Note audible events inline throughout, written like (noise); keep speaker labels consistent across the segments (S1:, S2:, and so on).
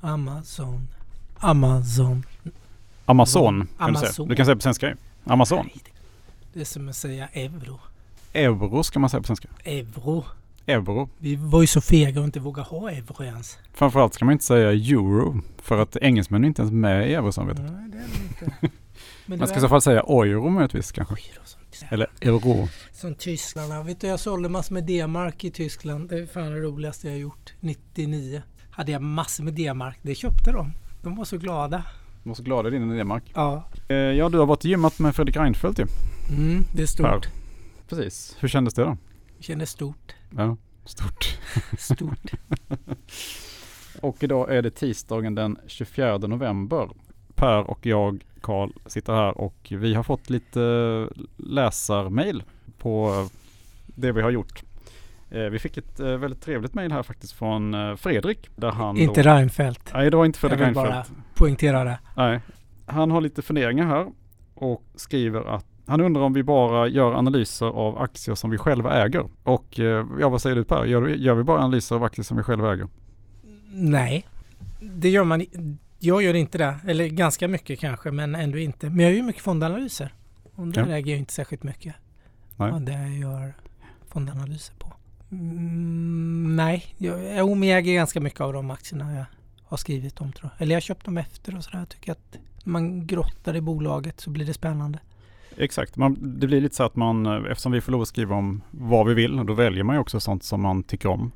S1: Amazon. Amazon.
S2: Amazon, kan du säga.
S1: Amazon.
S2: Du kan säga på svenska ju. Amazon.
S1: Det är som att säga euro.
S2: Euro ska man säga på svenska.
S1: Euro.
S2: Euro.
S1: Vi var ju så fega och inte vågade ha euro ens.
S2: Framförallt ska man inte säga euro. För att engelsmännen är inte ens med i eurosamarbetet.
S1: Nej, det är det inte. Men
S2: Man ska i
S1: det
S2: så
S1: var
S2: fall säga euro möjligtvis kanske.
S1: euro som-
S2: Eller euro.
S1: Som tyskarna. Vet du, jag sålde massor med D-mark i Tyskland. Det är fan det roligaste jag har gjort. 99. Hade jag massor med D-mark. Det köpte de. De var så glada.
S2: Jag var så glad i din idé Mark.
S1: Ja.
S2: Eh, Ja, du har varit och gymmat med Fredrik Reinfeldt ju.
S1: Mm, det är
S2: Här.
S1: stort.
S2: Precis. Hur kändes det då?
S1: Känner stort.
S2: Ja, stort. (laughs)
S1: Stort.
S2: Och idag är det tisdagen den 24 november. Per och jag, Karl, sitter här och vi har fått lite läsarmail på det vi har gjort. Eh, Vi fick ett eh, väldigt trevligt mail här faktiskt från eh, Fredrik. Där han
S1: inte
S2: då,
S1: Reinfeldt.
S2: Nej, det var inte
S1: Jag
S2: Fredrik
S1: vill
S2: Reinfeldt.
S1: bara poängtera det.
S2: Nej. Han har lite funderingar här och skriver att han undrar om vi bara gör analyser av aktier som vi själva äger. Och eh, ja, vad säger du Per? Gör, gör vi bara analyser av aktier som vi själva äger?
S1: Nej, det gör man i- Jag gör inte det. Eller ganska mycket kanske, men ändå inte. Men jag gör ju mycket fondanalyser. Och där
S2: Ja.
S1: äger jag inte särskilt mycket.
S2: Nej.
S1: Vad det jag gör fondanalyser på. Mm, nej, jag, jo, men jag äger ganska mycket av de aktierna jag har skrivit om tror jag. Eller jag har köpt dem efter och sådär. Jag tycker att när man grottar i bolaget så blir det spännande. (laughs)
S2: Exakt, man, det blir lite så att man, eh, eftersom vi får lov att skriva om vad vi vill, då väljer man ju också sånt som man tycker om.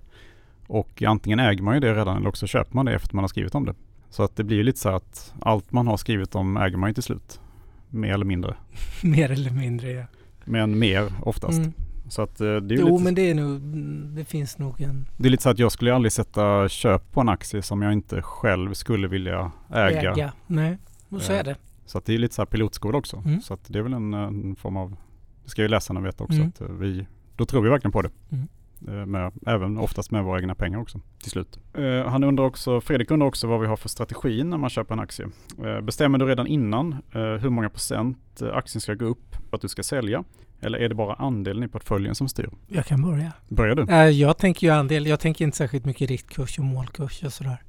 S2: Och antingen äger man ju det redan eller också köper man det efter att man har skrivit om det. Så att det blir ju lite så att allt man har skrivit om äger man ju till slut. Mer eller mindre.
S1: Mer eller mindre. Ja.
S2: Men mer oftast.
S1: Mm.
S2: Så att eh, det är ju
S1: Jo,
S2: lite
S1: men det är nog... mm, Det finns nog en...
S2: Det är lite så att jag skulle ju aldrig sätta köp på en aktie som jag inte själv skulle vilja äga.
S1: Nej, och så
S2: Eh,
S1: är det.
S2: Så att det är lite så här pilotskola också.
S1: Mm.
S2: Så att det är väl en, en form av, det ska ju läsarna veta också,
S1: Mm.
S2: att eh, vi, då tror vi verkligen på det.
S1: Mm.
S2: Eh, Med, även oftast med våra egna pengar också till slut. Eh, han undrar också, Fredrik undrar också vad vi har för strategi när man köper en aktie. Eh, bestämmer du redan innan eh, hur många procent eh, aktien ska gå upp för att du ska sälja? Eller är det bara andelen i portföljen som styr?
S1: Jag kan börja.
S2: Börjar du?
S1: Nej, Eh, Jag tänker ju andel. Jag tänker inte särskilt mycket riktkurs och målkurs och sådär.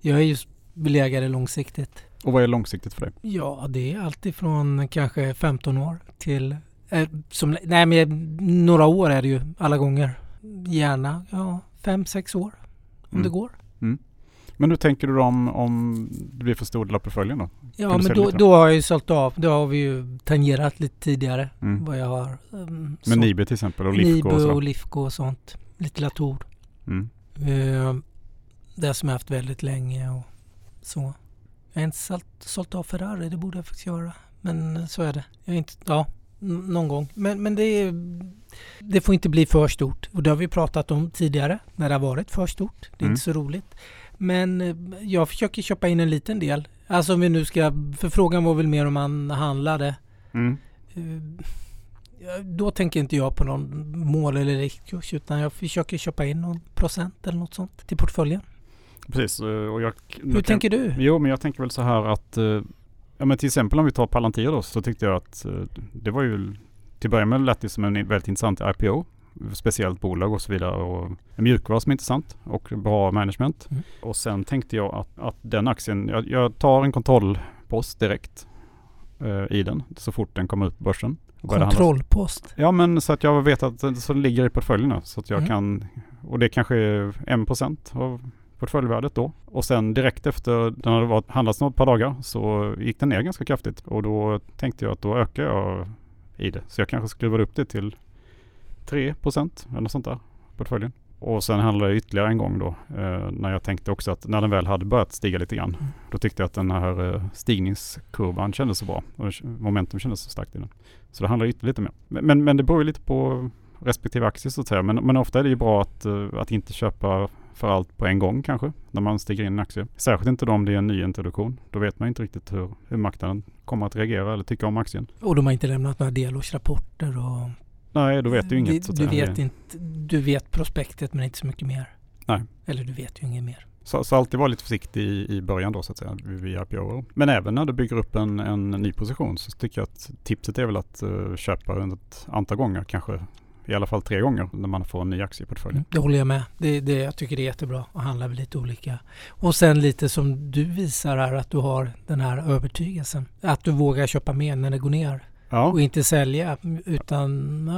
S1: Jag är ju belägare långsiktigt.
S2: Och vad är långsiktigt för dig?
S1: Ja, det är alltifrån kanske 15 år till... Eh, som, nej, men några år är det ju alla gånger. Gärna ja, fem, sex år om
S2: Mm.
S1: det går.
S2: Men hur tänker du då om, om det blir för stor del av portföljen då?
S1: Ja,
S2: du
S1: men
S2: sälja
S1: då,
S2: lite?
S1: då har jag ju sålt av. Då har vi ju tangerat lite tidigare
S2: Mm.
S1: vad jag har. Um,
S2: Med Nibe till exempel och Lifco och
S1: Nibu och
S2: sådär.
S1: Lifco och sånt. Lite Latour.
S2: Mm.
S1: Eh, Det som jag haft väldigt länge och så. Jag har inte sålt, sålt av Ferrari, det borde jag faktiskt göra. Men eh, så är det. Jag är inte, ja, n- någon gång. Men, men det, är, det får inte bli för stort. Och det har vi pratat om tidigare när det har varit för stort. Det är
S2: Mm.
S1: inte så roligt. Men eh, jag försöker köpa in en liten del. Alltså om vi nu ska, för frågan var väl mer om man handlade.
S2: Mm.
S1: Eh, ja, Då tänker inte jag på någon mål eller riktkurs utan jag försöker köpa in någon procent eller något sånt till portföljen.
S2: Precis, eh, och jag...
S1: Hur tänker du?
S2: Jo, men jag tänker väl så här att... eh, Ja, men till exempel om vi tar Palantir då, så tyckte jag att eh, det var ju... Till början med lät det som en väldigt intressant IPO. Speciellt bolag och så vidare. Och en mjukvara som är intressant och bra management.
S1: Mm.
S2: Och sen tänkte jag att, att den aktien, jag, jag tar en kontrollpost direkt eh, i den så fort den kommer ut på börsen. Och börjar handlas.
S1: Kontrollpost.
S2: Ja men så att jag vet att det så ligger i portföljen nu, så att jag
S1: Mm.
S2: kan och det kanske är 1% av portföljvärdet då. Och sen direkt efter den hade varit, handlats något par dagar så gick den ner ganska kraftigt och då tänkte jag att då ökar jag i det. Så jag kanske skruvar upp det till 3% eller något sånt där portföljen. Och sen handlade jag ytterligare en gång då eh, när jag tänkte också att när den väl hade börjat stiga lite grann
S1: Mm.
S2: då tyckte jag att den här eh, stigningskurvan kändes så bra och momentum kändes så starkt i den. Så det handlar ytterligare lite mer. Men, men, men det beror ju lite på respektive aktie så att säga. Men, men ofta är det ju bra att, eh, att inte köpa för allt på en gång kanske när man stiger in i en aktie. Särskilt inte då om det är en ny introduktion. Då vet man inte riktigt hur, hur marknaden kommer att reagera eller tycka om aktien.
S1: Och de har inte lämnat några delårsrapporter och...
S2: Nej, då vet du ju inget. så
S1: Du,
S2: att
S1: du,
S2: säga.
S1: vet inte, du vet prospektet men inte så mycket mer.
S2: Nej.
S1: Eller du vet ju inget mer.
S2: Så, så alltid var lite försiktig i, i början då så att säga, vid- vid IPO. Men även när du bygger upp en, en ny position så tycker jag att tipset är väl att eh, köpa under ett antal gånger, kanske i alla fall tre gånger när man får en ny aktie i portföljen.
S1: Det håller jag med. Det, det, jag tycker det är jättebra att handla med lite olika. Och sen lite som du visar här att du har den här övertygelsen. Att du vågar köpa mer när det går ner.
S2: Ja,
S1: Och inte sälja utan...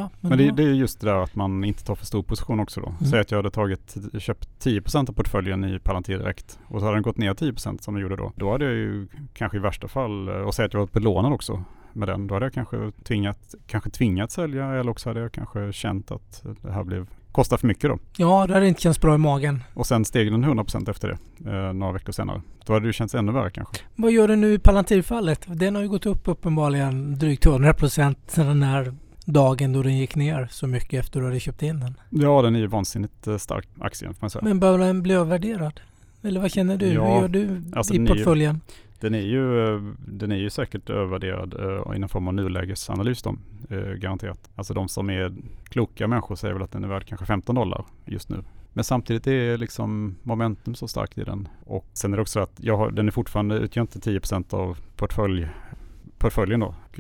S1: Ja,
S2: men det,
S1: ja.
S2: det är just det där att man inte tar för stor position också då. Säg att jag hade tagit, köpt 10% av portföljen i Palantir direkt och så hade den gått ner 10% som den gjorde då. Då hade jag ju kanske i värsta fall, eh, och säg att jag var belånad också med den, då hade jag kanske tvingat, kanske tvingat sälja eller också hade jag kanske känt att det här blev, kostar för mycket då.
S1: ja, det hade inte känts bra i magen.
S2: Och sen steg den 100% efter det, eh, några veckor senare. Då hade det ju känts ännu värre kanske.
S1: Vad gör du nu i Palantirfallet? Den har ju gått upp uppenbarligen drygt 100 procent sedan den här dagen då den gick ner så mycket efter du hade köpt in den.
S2: Ja, den är ju vansinnigt eh, stark aktien får man säga.
S1: Men bör den bli övervärderad? Eller vad känner du?
S2: Ja,
S1: Hur gör du
S2: alltså
S1: i
S2: ny-
S1: portföljen?
S2: Den är ju, eh, den är ju säkert övervärderad eh, i någon form av nulägesanalys då, eh, garanterat. Alltså de som är kloka människor säger väl att den är värd kanske 15 dollar just nu. Men samtidigt är liksom momentum så starkt i den. Och sen är det också att jag har, den är fortfarande, utgör inte 10% av portfölj, portföljen då. Och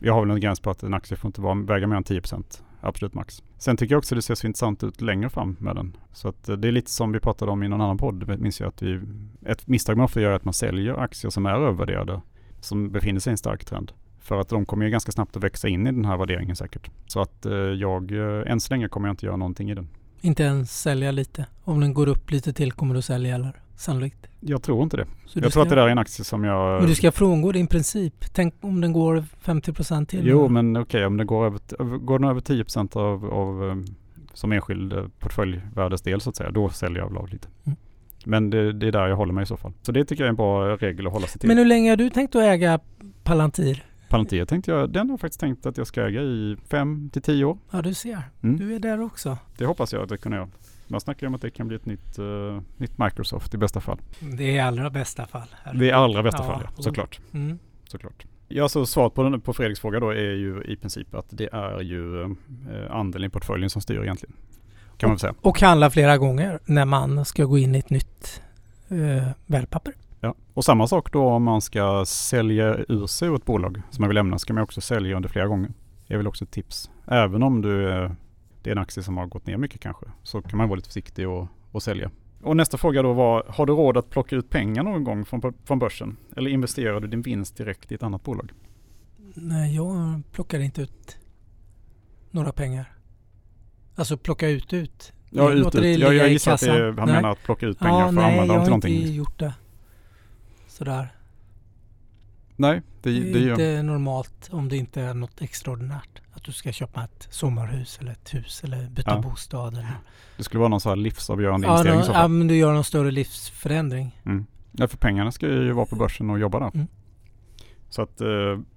S2: Jag har väl en gräns på att en aktie får inte vara, väga mer än 10%. Absolut max. Sen tycker jag också det ser så intressant ut längre fram med den. Så att eh, det är lite som vi pratade om i någon annan podd, minns jag att vi ett misstag man ofta gör är att man säljer aktier som är övervärderade, som befinner sig i en stark trend. För att de kommer ju ganska snabbt att växa in i den här värderingen säkert. Så att eh, jag, eh, än så länge kommer jag inte göra någonting i den.
S1: Inte ens sälja lite? Om den går upp lite till kommer du sälja eller? Sannolikt.
S2: Jag tror inte det.
S1: Så du
S2: jag tror att
S1: ska-
S2: det där är en aktie som jag...
S1: Men du ska frångå din princip. Tänk om den går 50 procent till?
S2: Jo, men okej, om det går över, t- över- går den över 10 procent av, av eh, som enskild eh, portföljvärdesdel så att säga, då säljer jag väl av lite.
S1: Mm.
S2: Men det, det är där jag håller mig i så fall. Så det tycker jag är en bra regel att hålla sig till.
S1: Men hur länge har du tänkt att äga Palantir?
S2: Palantir tänkte jag, den har jag faktiskt tänkt att jag ska äga i 5 till 10 år.
S1: Ja, du ser.
S2: Mm.
S1: Du är där också.
S2: Det hoppas jag att det kan göra. Man snackar ju om att det kan bli ett nytt, eh, nytt Microsoft i bästa fall.
S1: Det är i allra bästa fall.
S2: Det är allra bästa
S1: Ja.
S2: fall, ja, såklart.
S1: Mm.
S2: såklart. Ja, så svaret på, den, på Fredriks fråga då är ju i princip att det är ju eh, andelen i portföljen som styr egentligen. Kan man väl säga.
S1: Och handla flera gånger när man ska gå in i ett nytt eh, värdepapper.
S2: Ja. Och samma sak då om man ska sälja ur sig ett bolag som man vill lämna ska man också sälja under flera gånger. Det är väl också ett tips. Även om du, eh, det är en aktie som har gått ner mycket kanske så kan man vara lite försiktig och, och sälja. Och nästa fråga då var, har du råd att plocka ut pengar någon gång från, från börsen? Eller investerar du din vinst direkt i ett annat bolag?
S1: Nej, jag plockar inte ut några pengar. Alltså plocka ut ut.
S2: Ja, ut,
S1: Låter det
S2: ut. Jag,
S1: ligga
S2: jag
S1: i
S2: gissar att det,
S1: kassan?
S2: är- han
S1: Nej.
S2: menar att plocka ut pengar
S1: ja,
S2: för att
S1: nej,
S2: använda
S1: jag
S2: dem
S1: har inte
S2: till någonting.
S1: gjort det. Sådär.
S2: Nej, det,
S1: Det
S2: det,
S1: är
S2: gör-
S1: inte normalt om det inte är något extraordinärt. Att du ska köpa ett sommarhus eller ett hus eller byta
S2: Ja.
S1: bostad. Eller.
S2: det skulle vara någon så här livsavgörande
S1: Ja,
S2: investering i
S1: nå-
S2: så
S1: ja,
S2: fall.
S1: men du gör någon större livsförändring.
S2: Ja, för pengarna ska ju vara på börsen och jobba där.
S1: Mm.
S2: Så att, eh,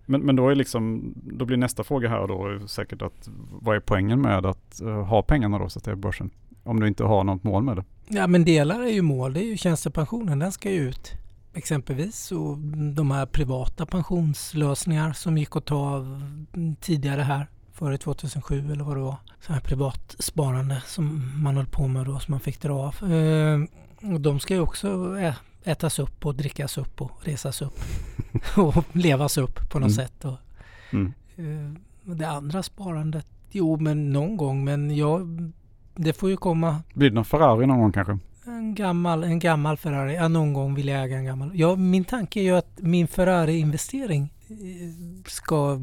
S2: men, men då, är liksom, då blir nästa fråga här då säkert att vad är poängen med att eh, ha pengarna då så att det är på börsen? Om du inte har något mål med det.
S1: Ja men delar är ju mål, det är ju tjänstepensionen, den ska ju ut. Exempelvis och de här privata pensionslösningar som gick att ta av tidigare här, före 2007 eller vad det var. Så här privatsparande som man höll på med då som man fick dra av. Eh, och de ska ju också ä- ätas upp och drickas upp och resas upp (laughs) och levas upp på något
S2: Mm.
S1: sätt. Och,
S2: Mm.
S1: Eh, det andra sparandet, jo men någon gång men jag, det får ju komma
S2: Blir det någon Ferrari någon gång kanske?
S1: en gammal, en gammal Ferrari. Ja, någon gång vill jag äga en gammal. Ja, min tanke är ju att min Ferrari-investering eh, ska,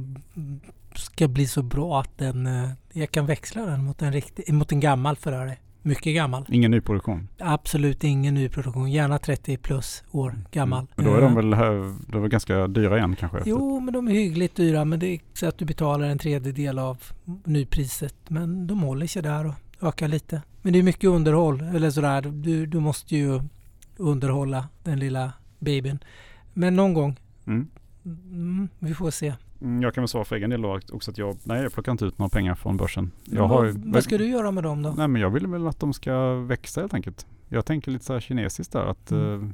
S1: ska bli så bra att den, eh, jag kan växla den mot en, riktig, mot en gammal Ferrari. Mycket gammal.
S2: Ingen nyproduktion.
S1: Absolut ingen nyproduktion. Gärna 30 plus år gammal.
S2: Mm. Men då är de
S1: Eh,
S2: väl, här- de är väl ganska dyra igen kanske? efter-
S1: Jo, men de är hyggligt dyra. Men det är så att du betalar en tredjedel av nypriset. Men de håller sig där och ökar lite. Men det är mycket underhåll. Eller sådär. Du, du måste ju underhålla den lilla babyn. Men någon gång.
S2: Mm.
S1: Mm, vi får se.
S2: Mm, Jag kan väl svara för egen del då också att jag, nej jag plockar inte ut några pengar från börsen. Jag har,
S1: vad, vad ska du göra med dem då?
S2: Nej men jag vill väl att de ska växa helt enkelt. Jag tänker lite så här kinesiskt där att
S1: Mm.
S2: eh,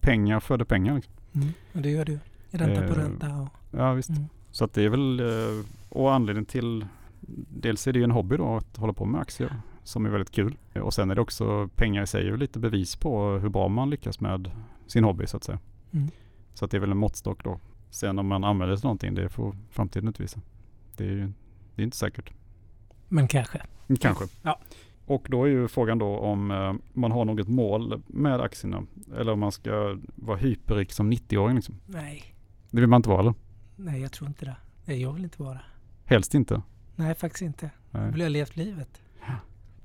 S2: pengar föder pengar. Liksom.
S1: Mm. och Det gör du. Ränta på
S2: Eh,
S1: ränta. Och,
S2: Ja visst.
S1: mm.
S2: Så att det är väl, eh, och anledningen till, dels är det ju en hobby då att hålla på med aktier som är väldigt kul. Och sen är det också, pengar i sig är ju lite bevis på hur bra man lyckas med sin hobby så att säga.
S1: Mm.
S2: Så att det är väl en måttstock då. Sen om man använder det till någonting, det får framtiden utvisa. Det är ju det är inte säkert.
S1: Men kanske.
S2: Kanske.
S1: Ja.
S2: Och då är ju frågan då om eh, man har något mål med aktierna. Eller om man ska vara hyperrik som 90-åring. Liksom.
S1: Nej,
S2: Det vill man inte vara eller?
S1: nej jag tror inte det. Nej, jag vill inte vara.
S2: Helst inte.
S1: Nej, faktiskt inte.
S2: Nej.
S1: Jag vill ha levt livet.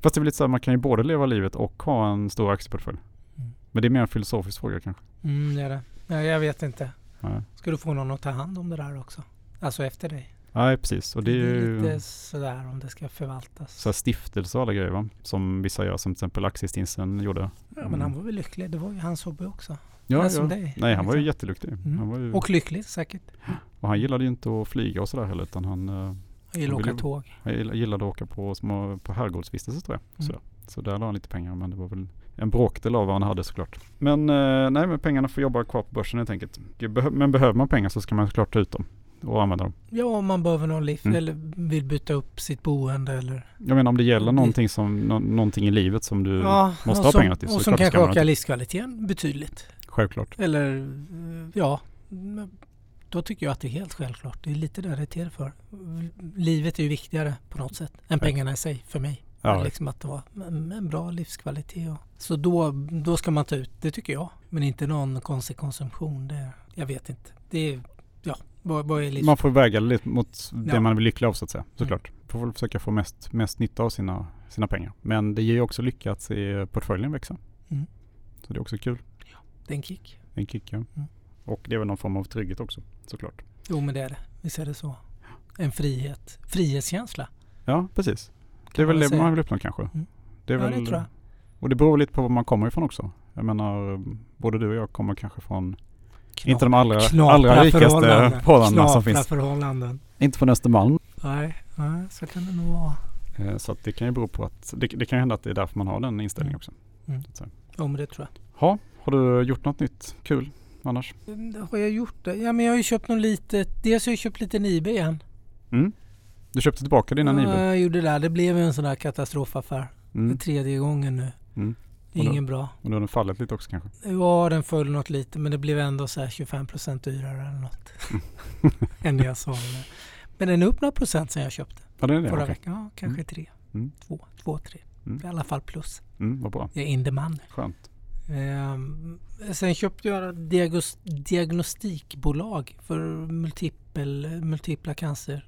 S2: Fast det är väl lite så här, man kan ju både leva livet och ha en stor aktieportfölj.
S1: Mm.
S2: Men det är mer en filosofisk fråga kanske.
S1: Mm, det är det. Nej, jag vet inte.
S2: Nej,
S1: Ska du få någon att ta hand om det där också? Alltså efter dig.
S2: Nej precis. Och det är ju
S1: lite sådär om det ska förvaltas.
S2: så här stiftelser och alla grejer va? Som vissa gör, som till exempel Axelstinsen gjorde.
S1: ja, men han var väl lycklig. Det var ju hans hobby också.
S2: Ja,
S1: men
S2: ja.
S1: som dig.
S2: Nej, han var ju
S1: liksom.
S2: jätteduktig.
S1: Mm.
S2: Han var ju, och,
S1: Och lycklig säkert.
S2: han gillade ju inte att flyga och sådär heller, utan han, eh,
S1: Han gillar
S2: Han
S1: att åka
S2: ville-
S1: tåg.
S2: han gill- gillade att åka på, små, på herrgårdsvistelse tror jag.
S1: Mm.
S2: Så, så där la han lite pengar, men det var väl en bråkdel av vad han hade såklart. Men eh, nej, men pengarna får jobba kvar på börsen helt enkelt. Behö- Men behöver man pengar så ska man såklart ta ut dem och använda dem.
S1: Ja, om man behöver någon liv
S2: Mm.
S1: eller vill byta upp sitt boende eller...
S2: Jag menar om det gäller
S1: Det-
S2: någonting, som, nå- någonting i livet som du
S1: ja,
S2: måste
S1: och
S2: ha
S1: som,
S2: pengar till, så
S1: Och
S2: klart
S1: som
S2: ska
S1: kanske
S2: man
S1: ökar
S2: inte-
S1: livskvaliteten betydligt.
S2: självklart.
S1: Eller eh, ja, men då tycker jag att det är helt självklart. Det är lite där det är till för. Livet är ju viktigare på något sätt än pengarna i sig för mig.
S2: Ja,
S1: Liksom att det var en en bra livskvalitet. Och, så då, då ska man ta ut, det tycker jag. Men inte någon konstig konsumtion. Det, jag vet inte. Det är, ja, vad, vad är liksom livs...
S2: man får väga lite mot det
S1: Ja. Mm.
S2: man blir lycklig av så att säga. Såklart. Får väl försöka få mest, mest nytta av sina, sina pengar. Men det ger ju också lycka att se portföljen växa.
S1: Mm.
S2: Så det är också kul.
S1: Det är en kick.
S2: En kick ja. Och det är väl någon form av trygghet också såklart.
S1: Jo men det är det. Visst är det så. En frihet. Frihetskänsla.
S2: Ja, precis. det är
S1: man
S2: väl det
S1: säga.
S2: man vill uppnå kanske.
S1: Mm.
S2: Det är
S1: Ja,
S2: väl,
S1: det tror jag.
S2: Och det beror lite på var man kommer ifrån också. Jag menar, både du och jag kommer kanske från, inte de allra,
S1: Knapra
S2: allra rikaste
S1: förhållanden.
S2: förhållandena som
S1: Knapra
S2: finns.
S1: förhållanden.
S2: Inte från Östermalm.
S1: Nej, nej, så kan det nog vara.
S2: Eh, Så att det kan ju bero på att det, det kan ju hända att det är därför man har den inställningen
S1: Mm.
S2: också.
S1: Mm.
S2: Så att säga.
S1: Ja, men det tror jag.
S2: Ha, har du gjort något nytt kul annars?
S1: Mm, Har jag gjort det? Ja, men jag har ju köpt något litet. Dels har jag köpt lite Nibe igen.
S2: Du köpte tillbaka dina
S1: Ja,
S2: Nibe.
S1: Jag gjorde det. Där. Det blev ju en sån där katastrofaffär. Det är
S2: Mm.
S1: tredje gången nu.
S2: Mm.
S1: Det är
S2: Och då-
S1: ingen bra.
S2: Och nu har den fallit lite också kanske.
S1: Ja, den föll något lite men det blev ändå så här 25 procent dyrare eller
S2: (laughs)
S1: något. än det jag sa. Men den är upp några procent sedan jag köpte.
S2: Ja, det är det.
S1: Förra
S2: okej.
S1: veckan. Ja, kanske tre.
S2: Mm.
S1: Två, två, tre.
S2: Mm.
S1: I alla fall plus.
S2: Mm, vad bra.
S1: Jag är in the money.
S2: Skönt.
S1: Ehm, sen köpte jag diagos, diagnostikbolag för multipel, multipla cancer.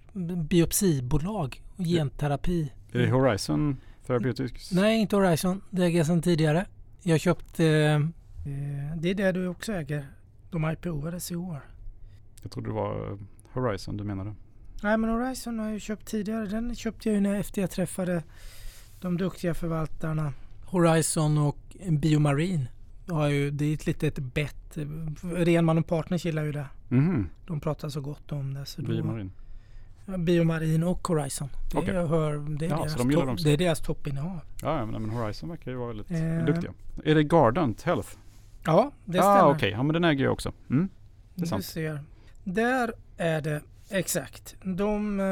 S1: Biopsibolag och genterapi.
S2: Är det Horizon Therapeutics?
S1: Mm. Nej, inte Horizon. Det äger jag sedan tidigare. Jag köpte... eh, det är det du också äger. De IPO-ades i år.
S2: Jag trodde det var eh, Horizon du menade.
S1: Nej, men Horizon har jag ju köpt tidigare. Den köpte jag ju när efter jag träffade de duktiga förvaltarna. Horizon och Biomarine. Har ju, det är ett litet bett. Renman och Partners gillar ju det.
S2: Mhm,
S1: De pratar så gott om det. Så
S2: Vi
S1: då,
S2: Marin.
S1: Biomarin och Horizon. Det,
S2: Okej.
S1: hör, det, är,
S2: Ja,
S1: deras
S2: så de gillar dem
S1: topp,
S2: så.
S1: det är deras toppinnehav.
S2: Ja, ja, men, men Horizon verkar ju vara väldigt
S1: Eh.
S2: duktiga. Är det Gardant Health?
S1: Ja, det
S2: ah,
S1: stämmer.
S2: okej. Ja, men den äger jag också. Mm. Det är
S1: du
S2: sant.
S1: ser. Där är det exakt. De eh,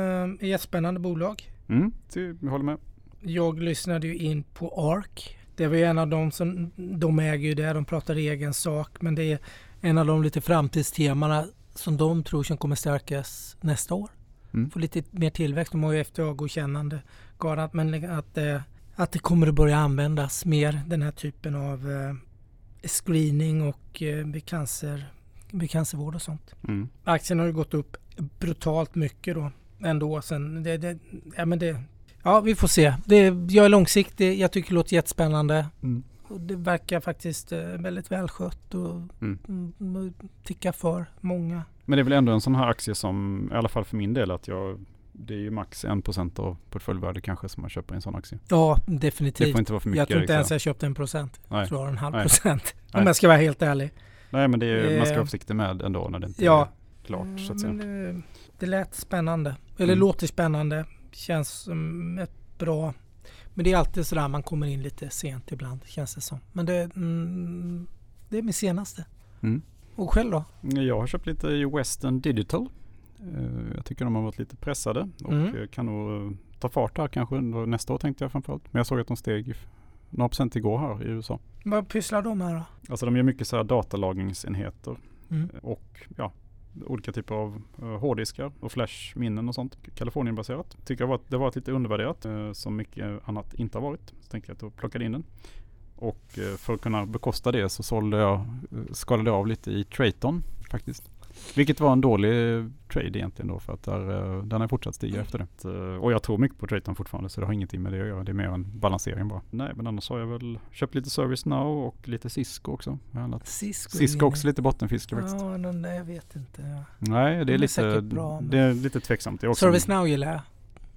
S1: är ett spännande bolag.
S2: Mm. Det, jag håller med.
S1: Jag lyssnade ju in på ARK. Det var ju en av dem som, de äger ju det, de pratar egen sak. Men det är en av de lite framtidstemana som de tror som kommer stärkas nästa år.
S2: Mm.
S1: Få lite mer tillväxt. De har ju FDA-godkännande. Garant, men att, eh, att det kommer att börja användas mer den här typen av eh, screening och eh, vid, cancer, vid cancervård och sånt.
S2: Mm.
S1: Aktien har ju gått upp brutalt mycket då ändå sen. Det, det, ja, men det, ja, vi får se. Det, jag är långsiktig. Jag tycker det låter jättespännande.
S2: Mm.
S1: Och det verkar faktiskt eh, väldigt välskött och
S2: Mm.
S1: mm. mm, tickar för många.
S2: Men det är väl ändå en sån här aktie som, i alla fall för min del, att jag, det är ju max 1% av portföljvärde kanske som man köper i en sån aktie.
S1: Ja,
S2: Det
S1: definitivt.
S2: får inte vara för mycket.
S1: Typ. Jag tror inte ens
S2: liksom.
S1: jag köpte en procent.
S2: Nej.
S1: Jag tror jag har en halv
S2: Nej.
S1: procent.
S2: Nej.
S1: Om jag ska vara helt ärlig.
S2: Nej, men det är, man ska
S1: Eh.
S2: vara försiktig med ändå när det inte
S1: Ja.
S2: är klart. Så
S1: Ja,
S2: att säga.
S1: men, eh, det lät spännande. Eller
S2: Mm.
S1: låter spännande. Känns som ett bra... Men det är alltid sådär man kommer in lite sent ibland känns det som. Men det, mm, det är min senaste.
S2: Mm.
S1: Och själv då?
S2: Jag har köpt lite i Western Digital. Eh, Jag tycker de har varit lite pressade och
S1: Mm.
S2: eh, kan nog eh, ta fart här kanske under nästa år tänkte jag framförallt. Men jag såg att de steg några procent igår här i USA.
S1: Vad pysslar de med då?
S2: Alltså de gör mycket så här datalagringsenheter
S1: Mm.
S2: och ja, olika typer av eh, hårddiskar och flashminnen och sånt. Kalifornienbaserat. Tycker jag var, det varit lite undervärderat eh, som mycket annat inte har varit. Så tänkte jag att jag plockade in den. Och eh, för att kunna bekosta det så sålde jag, eh, skalade jag av lite i Traton faktiskt. Vilket var en dålig eh, trade egentligen då för att där, eh, den har fortsatt stiga efter det. Så, eh, Och jag tror mycket på Traton fortfarande så det har ingenting med det att göra. Det är mer en balansering bara. Nej men annars har jag väl köpt lite ServiceNow och lite Cisco också. Jag har handlat.
S1: Cisco, är
S2: Cisco
S1: inne.
S2: också lite bottenfiske faktiskt.
S1: Ja, den där, jag vet inte.
S2: Nej, det
S1: De
S2: är,
S1: är
S2: lite,
S1: säkert bra, men-
S2: det är lite tveksamt. Det är också en-
S1: ServiceNow gillar jag.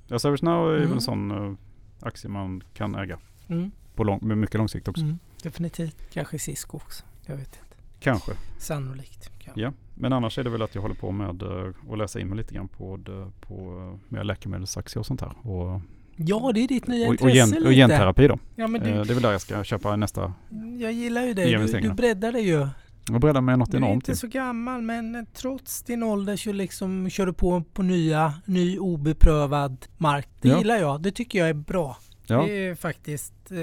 S2: Ja, ServiceNow är väl en
S1: Mm.
S2: sån eh, aktie man kan äga
S1: Mm,
S2: på lång, med mycket lång sikt också.
S1: mm, definitivt. Kanske Cisco också. Jag vet inte.
S2: Kanske.
S1: Sannolikt. Ja.
S2: Ja. Men annars är det väl att jag håller på med eh, att läsa in mig lite grann på, det- på eh, mer läkemedelsaktier och sånt här. Och, och,
S1: ja, det är ditt nya
S2: och,
S1: intresse
S2: gen,
S1: lite.
S2: och genterapi Eh, då.
S1: Ja, men
S2: Eh,
S1: du,
S2: Det är väl där jag ska köpa nästa.
S1: jag gillar ju dig. Du,
S2: Gemenstegen.
S1: du breddar dig ju.
S2: Jag breddar mig något
S1: Du är
S2: enormt.
S1: inte så gammal men trots din ålder så liksom kör du på på nya, ny obeprövad mark. Det
S2: Ja.
S1: gillar jag. Det tycker jag är bra.
S2: Ja.
S1: Det är faktiskt, eh,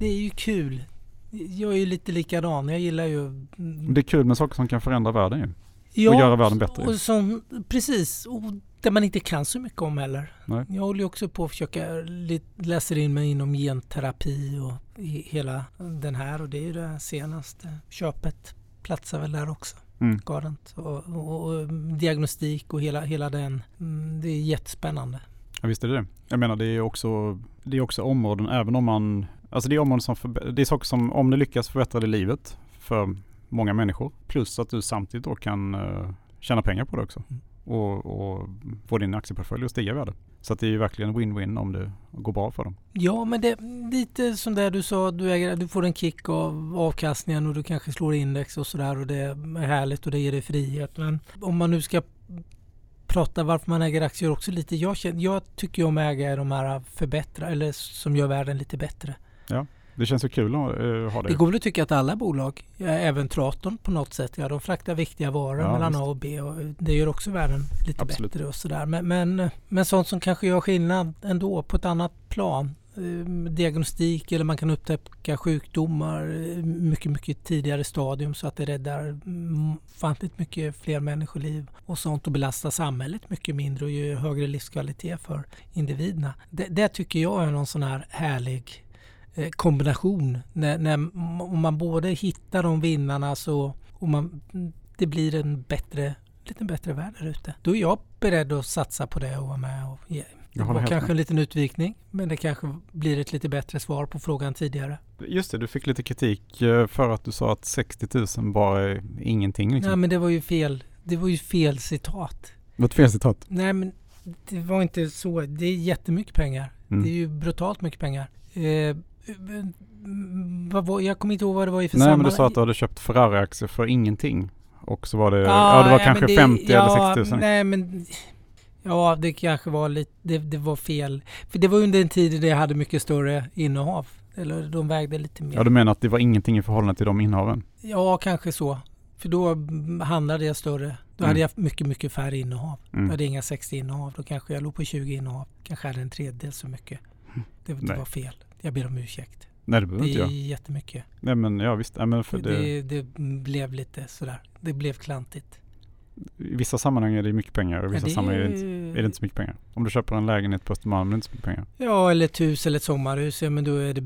S1: det är ju kul. Jag är ju lite likadan. Jag gillar ju...
S2: Det är kul med saker som kan förändra världen ju.
S1: Ja,
S2: Och göra världen bättre.
S1: Och som, precis, och där man inte kan så mycket om heller.
S2: Nej.
S1: Jag håller ju också på att försöka lit- läsa in mig inom genterapi och i hela den här och det är ju det senaste köpet. Platsar väl där också.
S2: Mm.
S1: Garant. Och, och, och diagnostik och hela, hela den. Mm, Det är jättespännande.
S2: Ja, visst är det det. Jag menar det är också, det är också områden, även om man, alltså det är områden som, förb- det är saker som, om det lyckas förbättra det livet för många människor, plus att du samtidigt då kan eh, tjäna pengar på det också.
S1: Mm.
S2: Och, och få din aktieportfölj att stiga i värde. Så att det är ju verkligen win-win om det går bra för dem.
S1: Ja, men det lite som det du sa, du, äger, du får en kick av avkastningen och du kanske slår index och sådär och det är härligt och det ger dig frihet. Men om man nu ska prata varför man äger aktier också lite. Jag, känner, jag tycker ju om att äga de här förbättra eller som gör världen lite bättre.
S2: Det känns ju kul att eh, ha det.
S1: Det går väl att tycka att alla bolag, ja, även Traton på något sätt, ja de fraktar viktiga varor
S2: Ja,
S1: mellan
S2: visst.
S1: A och B och det gör också världen lite
S2: Absolut.
S1: bättre och sådär. Men, men, men sånt som kanske gör skillnad ändå på ett annat plan. Ehm, Diagnostik eller man kan upptäcka sjukdomar i mycket, mycket tidigare stadium så att det räddar mm, ofantligt mycket fler människoliv och sånt och belastar samhället mycket mindre och ger högre livskvalitet för individerna. Det, det tycker jag är någon sån här härlig eh, kombination. När, när, m- om man både hittar de vinnarna så, och man, det blir en bättre, lite bättre värld där ute. Då är jag beredd att satsa på det och vara med. Och ge. Det
S2: Jag håller
S1: var
S2: helt
S1: kanske
S2: med.
S1: en liten utvikning men det kanske blir ett lite bättre svar på frågan tidigare.
S2: Just det, du fick lite kritik eh, för att du sa att 60 000 bara är ingenting. Liksom.
S1: Nej men det var ju fel, det var ju fel citat.
S2: Det var ett fel citat.
S1: Nej men det var inte så. Det är jättemycket pengar.
S2: Mm.
S1: Det är ju brutalt mycket pengar. Eh, mm, vad var, jag kommer inte ihåg vad det var i för
S2: Nej men du
S1: sammanhang.
S2: sa att du hade köpt Ferrari-aktier för ingenting. Och så var det,
S1: Ja,
S2: Eh, ja det var
S1: nej,
S2: kanske
S1: men det-
S2: 50
S1: ja,
S2: eller 60 000.
S1: Nej, men... Ja, det kanske var lite... Det, det var fel. För det var under en tid där jag hade mycket större innehav. Eller de vägde lite mer.
S2: Ja,
S1: Ja,
S2: du menar att det var ingenting i förhållande till de innehaven?
S1: kanske så. För då mm, handlade jag större. Då
S2: Mm.
S1: hade jag mycket, mycket färre innehav. Jag
S2: Mm.
S1: hade inga 60 innehav. Då kanske jag låg på 20 innehav. Kanske hade en tredjedel så mycket. Det, det
S2: Nej.
S1: var fel. Jag ber om ursäkt.
S2: Nej, det behöver
S1: Det
S2: inte
S1: är
S2: jag.
S1: jättemycket.
S2: Nej, men ja visst. Nej, men för det,
S1: Det, det blev lite sådär. Det blev klantigt.
S2: I vissa sammanhang är det mycket pengar och
S1: Ja,
S2: i vissa
S1: det är
S2: sammanhang är det, inte,
S1: ju-
S2: är det inte så mycket pengar. Om du köper en lägenhet på Östermalm är det inte så mycket pengar.
S1: Ja, eller ett hus eller ett sommarhus. Ja, men då är det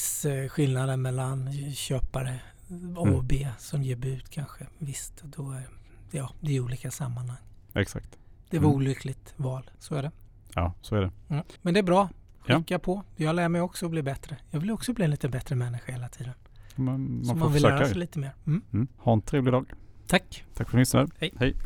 S1: budgivningsskillnaden mellan köpare A och
S2: Mm.
S1: B som ger bud kanske. Visst, då är, ja, det är olika sammanhang.
S2: Exakt.
S1: Det var
S2: Mm.
S1: olyckligt val, så är det.
S2: Ja, så är det.
S1: Mm. Men det är bra.
S2: Ja.
S1: Skicka på. Jag lär mig också att bli bättre. Jag vill också bli en lite bättre människa hela tiden.
S2: Man, man
S1: så
S2: får
S1: man vill lära
S2: försöka.
S1: sig
S2: ju.
S1: lite mer. Mm.
S2: Mm. Ha en trevlig dag.
S1: Tack!
S2: Tack för att ni lyssnade.
S1: Hej.
S2: Hej.